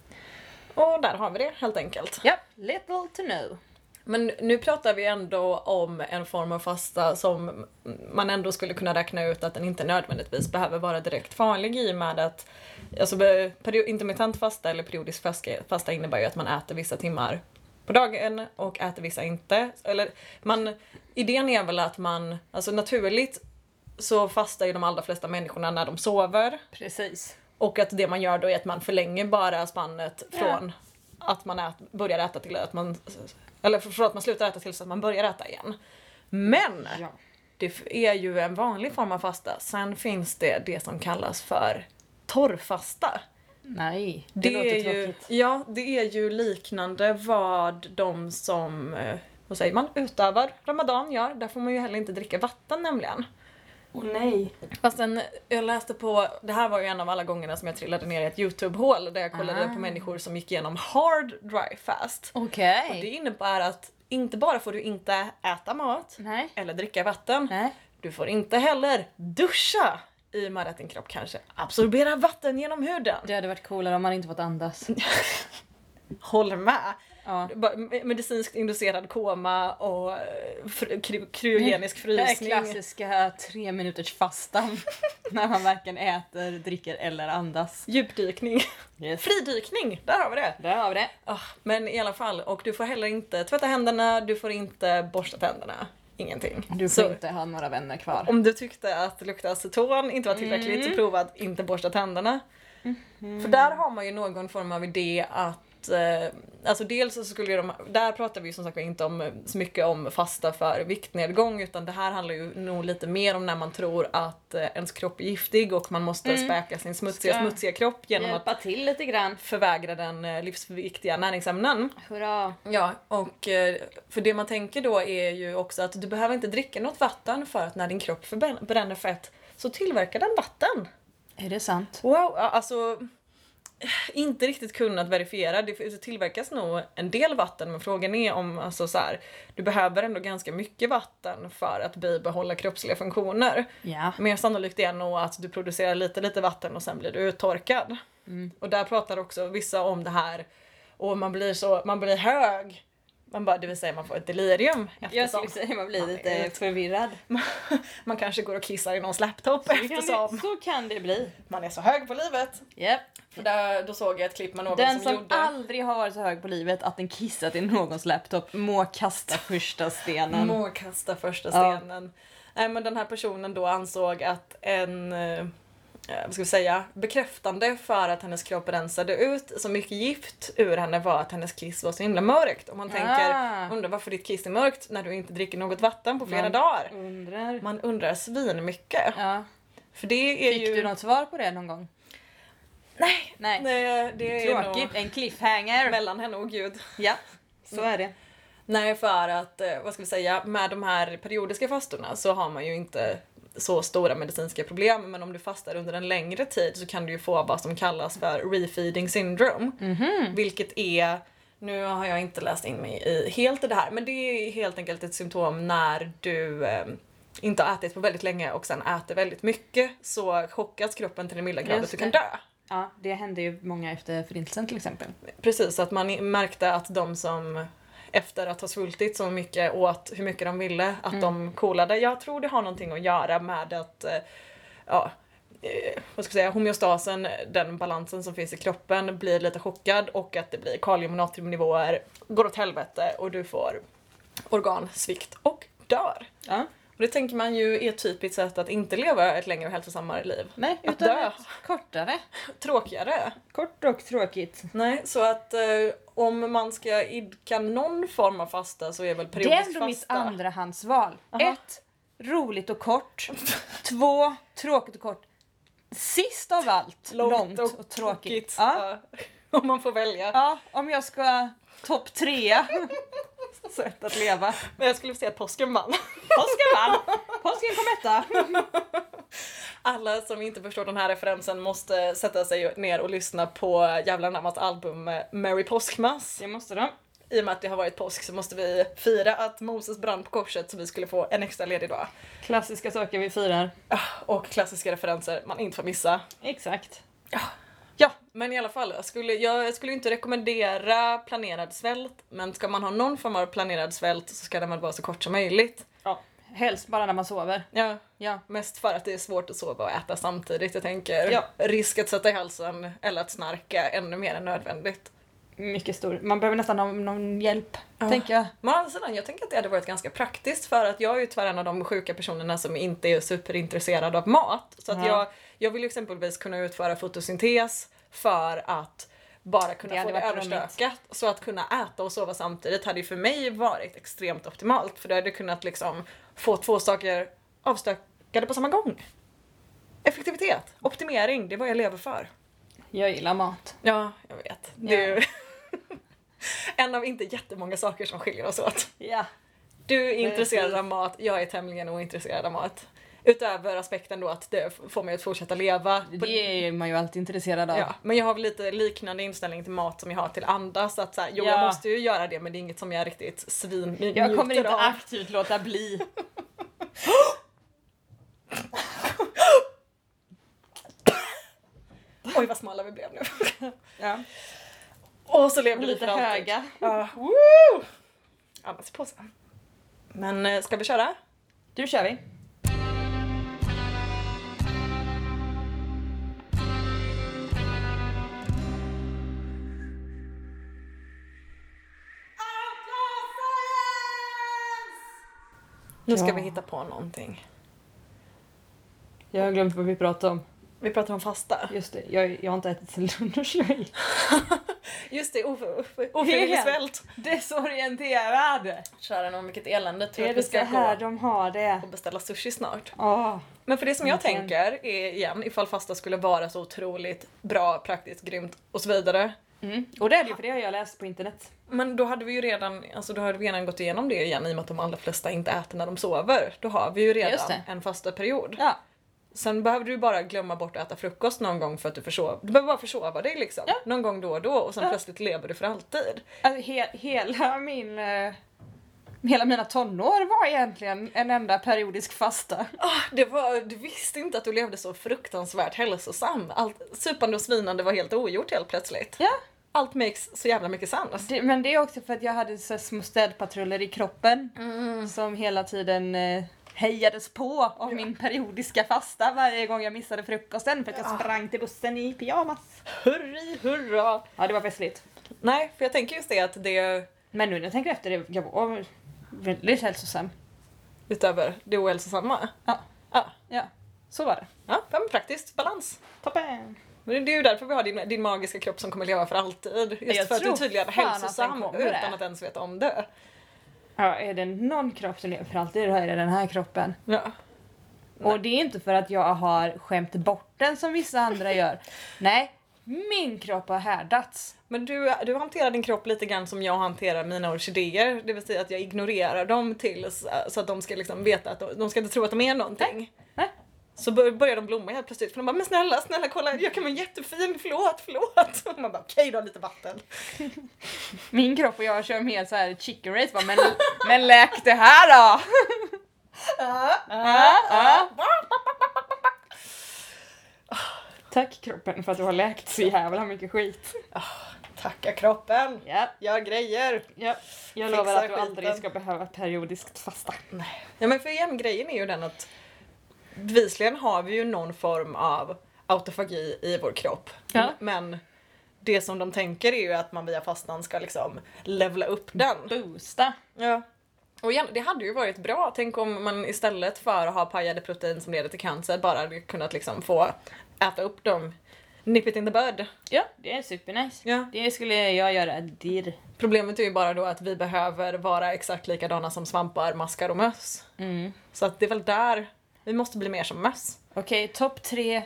Speaker 2: Och där har vi det helt enkelt.
Speaker 1: Yep, little to no.
Speaker 2: Men nu pratar vi ändå om en form av fasta som man ändå skulle kunna räkna ut att den inte nödvändigtvis behöver vara direkt farlig i och med att alltså, be- perio- intermittent fasta eller periodisk fasta- fasta innebär ju att man äter vissa timmar på dagen och äter vissa inte. Eller, man, idén är väl att man, alltså naturligt så fastar ju de allra flesta människorna när de sover
Speaker 1: Precis.
Speaker 2: och att det man gör då är att man förlänger bara spannet från att man ät, börjar äta till att man... Eller från att man slutar äta tills att man börjar äta igen. Men!
Speaker 1: Ja.
Speaker 2: Det f- är ju en vanlig form av fasta. Sen finns det det som kallas för torrfasta.
Speaker 1: Nej, det,
Speaker 2: Det,
Speaker 1: låter
Speaker 2: är ju,
Speaker 1: tråkigt.
Speaker 2: ja, det är ju liknande vad de som eh, vad säger man, utövar Ramadan gör. Där får man ju heller inte dricka vatten nämligen.
Speaker 1: Åh nej.
Speaker 2: Fast sen, jag läste på, det här var ju en av alla gångerna som jag trillade ner i ett YouTube-hål där jag kollade
Speaker 1: Ah.
Speaker 2: på människor som gick igenom hard dry fast.
Speaker 1: Okej.
Speaker 2: Det innebär att Inte bara får du inte äta mat
Speaker 1: Nej.
Speaker 2: eller dricka vatten.
Speaker 1: Nej.
Speaker 2: Du får inte heller duscha i och med att din kropp kanske absorberar vatten genom huden.
Speaker 1: Det hade varit coolare om man inte fått andas.
Speaker 2: Håller med!
Speaker 1: Ja.
Speaker 2: Bara me- Medicinskt inducerad koma och eh, fr- kry- kryogenisk
Speaker 1: Den här
Speaker 2: frysning.
Speaker 1: klassiska tre minuters fastan. när man varken äter, dricker eller andas.
Speaker 2: Djupdykning.
Speaker 1: Yes.
Speaker 2: Fridykning! Där har vi det!
Speaker 1: Där har vi det.
Speaker 2: Ah, men i alla fall, och du får heller inte tvätta händerna, du får inte borsta tänderna. Ingenting.
Speaker 1: Du får
Speaker 2: Så
Speaker 1: inte ha några vänner kvar.
Speaker 2: om du tyckte att det luktade aceton inte var tillräckligt
Speaker 1: Mm.
Speaker 2: så prova att inte borsta tänderna.
Speaker 1: Mhm.
Speaker 2: För där har man ju någon form av idé att eh, Alltså dels så skulle ju de, där pratar vi ju som sagt inte om, så mycket om fasta för viktnedgång utan det här handlar ju nog lite mer om när man tror att eh, ens kropp är giftig och man måste späka sin smutsiga,
Speaker 1: Mm. Ska
Speaker 2: smutsiga kropp genom att
Speaker 1: Hjälpa till lite grann.
Speaker 2: förvägra den eh, livsviktiga näringsämnen.
Speaker 1: Hurra.
Speaker 2: Ja, och eh, för det man tänker då är ju också att du behöver inte dricka något vatten för att när din kropp förbrän- bränner fett så tillverkar den vatten.
Speaker 1: Är det sant?
Speaker 2: Wow, ja, alltså eh, inte riktigt kunnat verifiera. Det f- det tillverkas nog en del vatten men frågan är om alltså så här, du behöver ändå ganska mycket vatten för att bibehålla kroppsliga funktioner.
Speaker 1: Ja.
Speaker 2: Mer sannolikt är nog att du producerar lite lite vatten och sen blir du uttorkad. Och där pratar också vissa om det här och man blir så, man blir hög. Man bara, det vill säga man får ett delirium
Speaker 1: Jag
Speaker 2: eftersom
Speaker 1: skulle säga man blir
Speaker 2: Man
Speaker 1: lite
Speaker 2: är-
Speaker 1: förvirrad.
Speaker 2: man kanske går och kissar i någons laptop
Speaker 1: Eftersom.
Speaker 2: eftersom
Speaker 1: Så kan det bli.
Speaker 2: man är så hög på livet.
Speaker 1: Yep.
Speaker 2: För där, då såg jag ett klipp med någon
Speaker 1: Den
Speaker 2: som,
Speaker 1: som
Speaker 2: gjorde
Speaker 1: aldrig har varit så hög på livet att den kissat i någons laptop må kasta första stenen.
Speaker 2: Må kasta första
Speaker 1: Mm. Ja.
Speaker 2: stenen. Nej men den här personen då ansåg att en, eh, vad ska vi säga, bekräftande för att hennes kropp rensade ut så mycket gift ur henne var att hennes kiss var så himla mörkt. Om man
Speaker 1: Ah.
Speaker 2: tänker, undrar varför ditt kiss är mörkt när du inte dricker något vatten på flera
Speaker 1: Man-
Speaker 2: dagar.
Speaker 1: Undrar.
Speaker 2: Man undrar svin mycket.
Speaker 1: Ja.
Speaker 2: För det är
Speaker 1: Fick
Speaker 2: ju...
Speaker 1: du något svar på det någon gång?
Speaker 2: Nej!
Speaker 1: Nej.
Speaker 2: Nej, det är nog
Speaker 1: Tråkigt, en cliffhanger. Mm.
Speaker 2: mellan henne och gud.
Speaker 1: Ja, så är det.
Speaker 2: Nej, för att eh, vad ska vi säga, med de här periodiska fastorna så har man ju inte så stora medicinska problem men om du fastar under en längre tid så kan du ju få vad som kallas för refeeding syndrome.
Speaker 1: Mhm.
Speaker 2: Vilket är, nu har jag inte läst in mig i helt i det här, men det är helt enkelt ett symptom när du eh, inte har ätit på väldigt länge och sen äter väldigt mycket så chockas kroppen till den milda grad
Speaker 1: Just
Speaker 2: att du kan
Speaker 1: det.
Speaker 2: dö.
Speaker 1: Ja, det hände ju många efter förintelsen till exempel.
Speaker 2: Precis, att man i- märkte att de som efter att ha svultit så mycket åt hur mycket de ville, att de coolade. Jag tror det har någonting att göra med att eh, ja, eh, vad ska jag säga, homeostasen, den balansen som finns i kroppen blir lite chockad och att det blir kalium och natriumnivåer, går åt helvete och du får organsvikt och dör.
Speaker 1: Ja.
Speaker 2: Och det tänker man ju är ett typiskt sätt att inte leva ett längre och hälsosammare liv.
Speaker 1: Nej,
Speaker 2: Att
Speaker 1: utan
Speaker 2: dö.
Speaker 1: ett kortare.
Speaker 2: Tråkigare.
Speaker 1: Kort och tråkigt.
Speaker 2: Nej, så att eh, om man ska idka någon form av fasta så är väl
Speaker 1: Det är
Speaker 2: periodisk
Speaker 1: ändå mitt
Speaker 2: fasta.
Speaker 1: andrahandsval.
Speaker 2: Aha.
Speaker 1: Ett, roligt och kort. Två, tråkigt och kort. Sist av allt, långt, och, tråkigt. Ja.
Speaker 2: Ja, eh, Om man får välja.
Speaker 1: ja, om jag ska topp trea. Sätt att leva.
Speaker 2: Men jag skulle säga att påsken vann.
Speaker 1: Påsken vann! Påsken kom etta.
Speaker 2: Alla som inte förstår den här referensen måste sätta sig ner och lyssna på jävla namnas album eh, Merry Påskmass.
Speaker 1: Det måste de.
Speaker 2: I och med att det har varit påsk så måste vi fira att Moses brann på korset så vi skulle få en extra ledig dag.
Speaker 1: Klassiska saker vi firar.
Speaker 2: Ah, Och klassiska referenser man inte får missa.
Speaker 1: Exakt.
Speaker 2: Ja, men i alla fall. Jag skulle, jag skulle inte rekommendera planerad svält, men ska man ha någon form av planerad svält så ska den väl vara så kort som möjligt.
Speaker 1: Ja. Helst bara när man sover.
Speaker 2: Ja,
Speaker 1: Ja.
Speaker 2: mest för att det är svårt att sova och äta samtidigt. Jag tänker
Speaker 1: Ja.
Speaker 2: risk att sätta i halsen eller att snarka ännu mer än nödvändigt.
Speaker 1: Mycket stor. Man behöver nästan ha någon hjälp,
Speaker 2: Ja.
Speaker 1: tänker jag.
Speaker 2: Men å andra sidan, jag tänker att det hade varit ganska praktiskt för att jag är ju tyvärr en av de sjuka personerna som inte är superintresserad av mat. Så att
Speaker 1: Ja.
Speaker 2: jag, jag vill ju exempelvis kunna utföra fotosyntes för att bara kunna
Speaker 1: Det
Speaker 2: få
Speaker 1: hade
Speaker 2: det
Speaker 1: varit roligt.
Speaker 2: överstökat. Så att kunna äta och sova samtidigt hade ju för mig varit extremt optimalt för då hade jag kunnat liksom få två saker avstökade på samma gång. Effektivitet, optimering, det är vad jag lever för.
Speaker 1: Jag gillar mat.
Speaker 2: Ja, jag vet. Det är ju en av inte jättemånga saker som skiljer oss åt.
Speaker 1: Ja.
Speaker 2: Du är
Speaker 1: Precis.
Speaker 2: intresserad av mat, jag är tämligen ointresserad av mat. Utöver aspekten då att det f- får mig att fortsätta leva. på-
Speaker 1: Det är man ju alltid intresserad av.
Speaker 2: Ja, men jag har väl lite liknande inställning till mat som jag har till andas. Att så här, jo, jag
Speaker 1: Ja.
Speaker 2: måste ju göra det men det är inget som jag riktigt svin
Speaker 1: Jag kommer inte
Speaker 2: av.
Speaker 1: aktivt låta bli.
Speaker 2: Oj vad smala vi blev nu.
Speaker 1: Ja.
Speaker 2: Och så levde vi
Speaker 1: Lite
Speaker 2: för alltid.
Speaker 1: höga.
Speaker 2: Ja, woo! Ja, men se på så. Men eh, ska vi köra?
Speaker 1: Du kör vi.
Speaker 2: Nu ska
Speaker 1: Ja.
Speaker 2: vi hitta på någonting.
Speaker 1: Jag har glömt vad vi pratade om.
Speaker 2: Vi pratar om fasta.
Speaker 1: Just det, jag, jag har inte ätit sen lunch. jag är
Speaker 2: Just det, of- of- ofrivillig
Speaker 1: Helt.
Speaker 2: svält.
Speaker 1: Desorienterad!
Speaker 2: Kära någon, vilket elände. Tror
Speaker 1: Är
Speaker 2: att
Speaker 1: det
Speaker 2: vi
Speaker 1: så
Speaker 2: ska
Speaker 1: här
Speaker 2: gå
Speaker 1: de har det?
Speaker 2: och beställa sushi snart.
Speaker 1: Åh,
Speaker 2: Men för det som jag
Speaker 1: Verkligen.
Speaker 2: tänker är igen, ifall fasta skulle vara så otroligt bra, praktiskt, grymt och så vidare.
Speaker 1: Mm. Och det är det ju, för det har jag läst på internet.
Speaker 2: Men då hade vi ju redan, alltså då hade vi redan gått igenom det igen i och med att de allra flesta inte äter när de sover. Då har vi ju
Speaker 1: Just
Speaker 2: redan
Speaker 1: det.
Speaker 2: en fasta period.
Speaker 1: Ja,
Speaker 2: Sen behöver du bara glömma bort att äta frukost någon gång för att du försov... Du behöver bara försova dig liksom.
Speaker 1: Ja.
Speaker 2: Någon gång då och då och sen
Speaker 1: Ja.
Speaker 2: plötsligt lever du för alltid.
Speaker 1: alltså, he, hela min... eh, hela mina tonår var egentligen en enda periodisk fasta.
Speaker 2: Ah, det var, du visste inte att du levde så fruktansvärt hälsosam. Allt supande och svinande var helt ogjort helt plötsligt.
Speaker 1: Ja.
Speaker 2: Allt makes så jävla mycket sans.
Speaker 1: Det, men det är också för att jag hade så här små städpatruller i kroppen
Speaker 2: Mm.
Speaker 1: som hela tiden eh, hejades på av min periodiska fasta varje gång jag missade frukosten för att jag sprang till bussen i pyjamas.
Speaker 2: Hurri hurra!
Speaker 1: Ja, det var festligt.
Speaker 2: Nej, för jag tänker just det att det
Speaker 1: Men nu när jag tänker efter, det, jag var väldigt hälsosam.
Speaker 2: utöver det ohälsosamma.
Speaker 1: Ja,
Speaker 2: Ja,
Speaker 1: ja, så var det.
Speaker 2: ja ja, men praktiskt balans.
Speaker 1: Toppen!
Speaker 2: Men det är ju därför vi har din, din magiska kropp som kommer leva för alltid. Just
Speaker 1: Jag
Speaker 2: för att du är
Speaker 1: tror
Speaker 2: tydligen
Speaker 1: fan att den
Speaker 2: hälsosam
Speaker 1: kommer
Speaker 2: utan
Speaker 1: det.
Speaker 2: att ens veta om det.
Speaker 1: Ja, är det någon kropp som lever för alltid då är det den här kroppen.
Speaker 2: Ja.
Speaker 1: Och det är inte för att jag har skämt bort den som vissa andra gör. Nej, min kropp har härdats.
Speaker 2: Men du, du hanterar din kropp lite grann som jag hanterar mina orkidéer. Det vill säga att jag ignorerar dem till så, så att de ska liksom veta att de, de ska inte tro att de är någonting.
Speaker 1: Nej.
Speaker 2: Så bör- börjar de blomma helt plötsligt för de bara men snälla, snälla kolla jag kan vara jättefin, förlåt, förlåt. Och man bara okej då lite vatten.
Speaker 1: Min kropp och jag kör mer så här chicken race bara, men, men läk det här då! Ah, ja. Tack kroppen för att du har läkt så jävla mycket skit.
Speaker 2: Tacka kroppen,
Speaker 1: Ja,
Speaker 2: gör grejer.
Speaker 1: ja. Jag
Speaker 2: Fixa
Speaker 1: lovar att du
Speaker 2: skiten.
Speaker 1: aldrig ska behöva periodiskt fasta.
Speaker 2: Ja men för igen, grejen är ju den att bevisligen har vi ju någon form av autofagi i vår kropp.
Speaker 1: Ja.
Speaker 2: Men det som de tänker är ju att man via fastan ska liksom levla upp den.
Speaker 1: Boosta.
Speaker 2: Ja. Och igen, det hade ju varit bra, tänk om man istället för att ha pajade protein som leder till cancer bara hade kunnat liksom få äta upp dem. Nip it in the bud.
Speaker 1: Ja, det är supernice.
Speaker 2: Ja.
Speaker 1: Det skulle jag göra dirr.
Speaker 2: Problemet är ju bara då att vi behöver vara exakt likadana som svampar, maskar och möss.
Speaker 1: Mm.
Speaker 2: Så att det är väl där vi måste bli mer som möss.
Speaker 1: Okej, topp tre...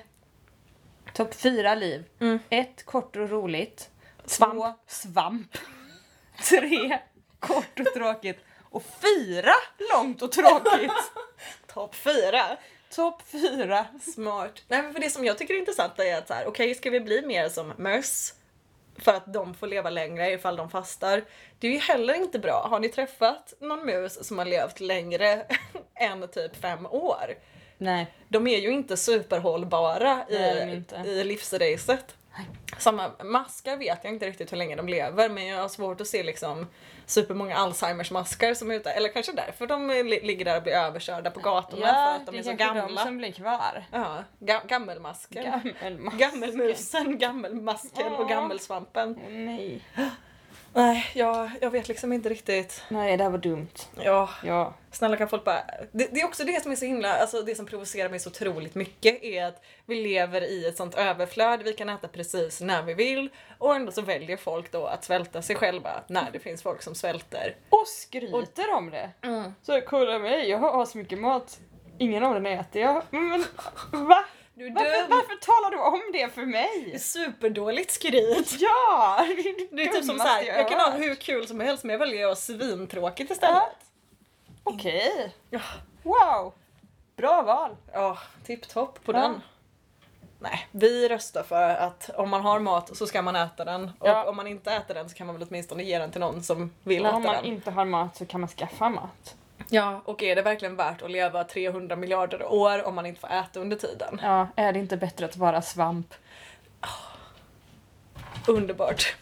Speaker 1: Topp fyra liv.
Speaker 2: Mm.
Speaker 1: Ett, kort och roligt.
Speaker 2: Svamp.
Speaker 1: Två, svamp. Tre, kort och tråkigt. Och fyra, långt och tråkigt.
Speaker 2: Topp fyra!
Speaker 1: Topp fyra.
Speaker 2: Smart. Nej men för det som jag tycker är intressant är att så här, okej ska vi bli mer som möss? För att de får leva längre ifall de fastar. Det är ju heller inte bra. Har ni träffat någon mus som har levt längre än typ fem år?
Speaker 1: Nej.
Speaker 2: De är ju inte superhållbara i,
Speaker 1: Nej, de är inte.
Speaker 2: i livsracet. Samma maskar vet jag inte riktigt hur länge de lever men jag har svårt att se liksom supermånga Alzheimers maskar som är ute, eller kanske därför de li- ligger där och blir överkörda på gatorna för att de är så gamla.
Speaker 1: de som blir kvar.
Speaker 2: Ja, ga- gammelmasken.
Speaker 1: Gammelmask.
Speaker 2: Gammelmusen, gammelmasken och
Speaker 1: Ja.
Speaker 2: gammelsvampen.
Speaker 1: Åh, nej.
Speaker 2: Nej, jag, jag vet liksom inte riktigt.
Speaker 1: Nej, det här var dumt.
Speaker 2: Ja,
Speaker 1: Ja.
Speaker 2: snälla kan folk bara... Det, det är också det som är så himla, alltså det som provocerar mig så otroligt mycket är att vi lever i ett sånt överflöd, vi kan äta precis när vi vill och ändå så väljer folk då att svälta sig själva när det finns folk som svälter.
Speaker 1: Och skryter om det.
Speaker 2: Mm.
Speaker 1: Så kolla mig, jag har så mycket mat. Ingen av den äter jag. Men va?
Speaker 2: Du är
Speaker 1: Varför,
Speaker 2: dum!
Speaker 1: varför talar du om det för
Speaker 2: Det är
Speaker 1: mig?
Speaker 2: Superdåligt skryt!
Speaker 1: Ja!
Speaker 2: Det är typ som
Speaker 1: dummaste
Speaker 2: såhär, jag kan ha
Speaker 1: hört.
Speaker 2: hur kul som helst men jag väljer att göra svintråkigt istället.
Speaker 1: Okej.
Speaker 2: Ja.
Speaker 1: Wow. Bra val!
Speaker 2: Ja, tipptopp på
Speaker 1: Ja.
Speaker 2: den. Nej, vi röstar för att om man har mat så ska man äta den.
Speaker 1: Ja.
Speaker 2: Och om man inte äter den så kan man väl åtminstone ge den till någon som vill
Speaker 1: Om
Speaker 2: äta
Speaker 1: man
Speaker 2: den.
Speaker 1: inte har mat så kan man skaffa mat.
Speaker 2: ja, och är det verkligen värt att leva 300 miljarder år om man inte får äta under tiden?
Speaker 1: Ja, är det inte bättre att vara svamp?
Speaker 2: Underbart.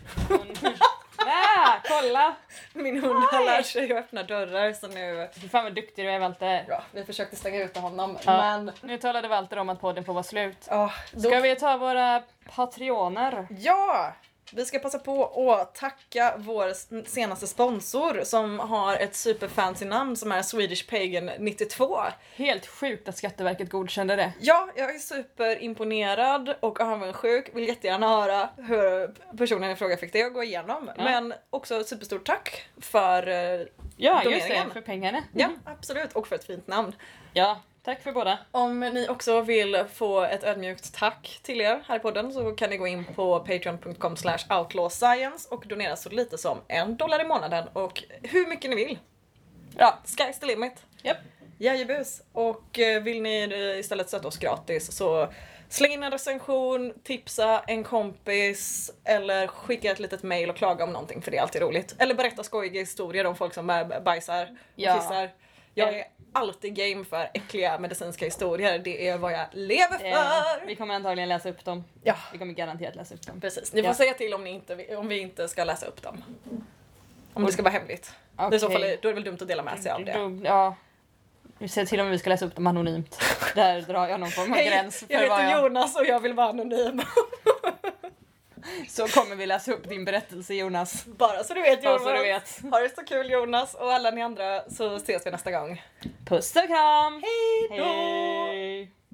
Speaker 1: Nej, kolla!
Speaker 2: Min hund har lärt sig att öppna dörrar så nu...
Speaker 1: Fy fan vad duktig du är Walter.
Speaker 2: Ja, vi försökte stänga ut honom
Speaker 1: Ja.
Speaker 2: men...
Speaker 1: Nu talade Walter om att podden får vara slut.
Speaker 2: Ja, då...
Speaker 1: Ska vi ta våra patrioner?
Speaker 2: Ja! Vi ska passa på att tacka vår s- senaste sponsor som har ett superfancy namn som är Swedish Pagan 92.
Speaker 1: Helt sjukt att Skatteverket godkände det.
Speaker 2: Ja, jag är superimponerad och avundsjuk. Vill jättegärna höra hur personen i fråga fick det att gå igenom.
Speaker 1: Ja.
Speaker 2: Men också ett superstort tack för... eh,
Speaker 1: Ja, just
Speaker 2: Doneringen.
Speaker 1: det. För pengarna.
Speaker 2: Ja, absolut. Och för ett fint namn.
Speaker 1: Ja, tack för båda.
Speaker 2: Om ni också vill få ett ödmjukt tack till er här i podden så kan ni gå in på patreon.com slash outlawscience och donera så lite som en dollar i månaden och hur mycket ni vill. Ja, sky's the limit.
Speaker 1: Japp.
Speaker 2: Jajebus. Och eh, vill ni eh, istället stötta oss gratis så släng in en recension, tipsa en kompis eller skicka ett litet mail och klaga om någonting för det är alltid roligt. Eller berätta skojiga historier om folk som bär- bajsar och
Speaker 1: Ja.
Speaker 2: kissar. Jag är alltid game för äckliga medicinska historier. Det är vad jag lever
Speaker 1: Eh,
Speaker 2: för!
Speaker 1: vi kommer antagligen läsa upp dem.
Speaker 2: Ja,
Speaker 1: Vi kommer garanterat läsa upp dem.
Speaker 2: precis. Ni får
Speaker 1: Ja.
Speaker 2: säga till om, ni inte, om vi inte ska läsa upp dem. Om det ska vara hemligt. I så fall
Speaker 1: Okej.
Speaker 2: är, då är det väl dumt att dela med sig av det.
Speaker 1: Då- Ja. Vi ser till om vi ska läsa upp dem anonymt. Där drar jag någon form av
Speaker 2: Hej,
Speaker 1: gräns
Speaker 2: jag
Speaker 1: för vad
Speaker 2: heter
Speaker 1: jag...
Speaker 2: Jonas och jag vill vara anonym.
Speaker 1: Så kommer vi läsa upp din berättelse Jonas.
Speaker 2: Bara så du vet
Speaker 1: Bara
Speaker 2: Jonas.
Speaker 1: så du vet.
Speaker 2: Ha det så kul Jonas och alla ni andra så ses vi nästa gång.
Speaker 1: Puss och kram!
Speaker 2: Hej då!
Speaker 1: Hej!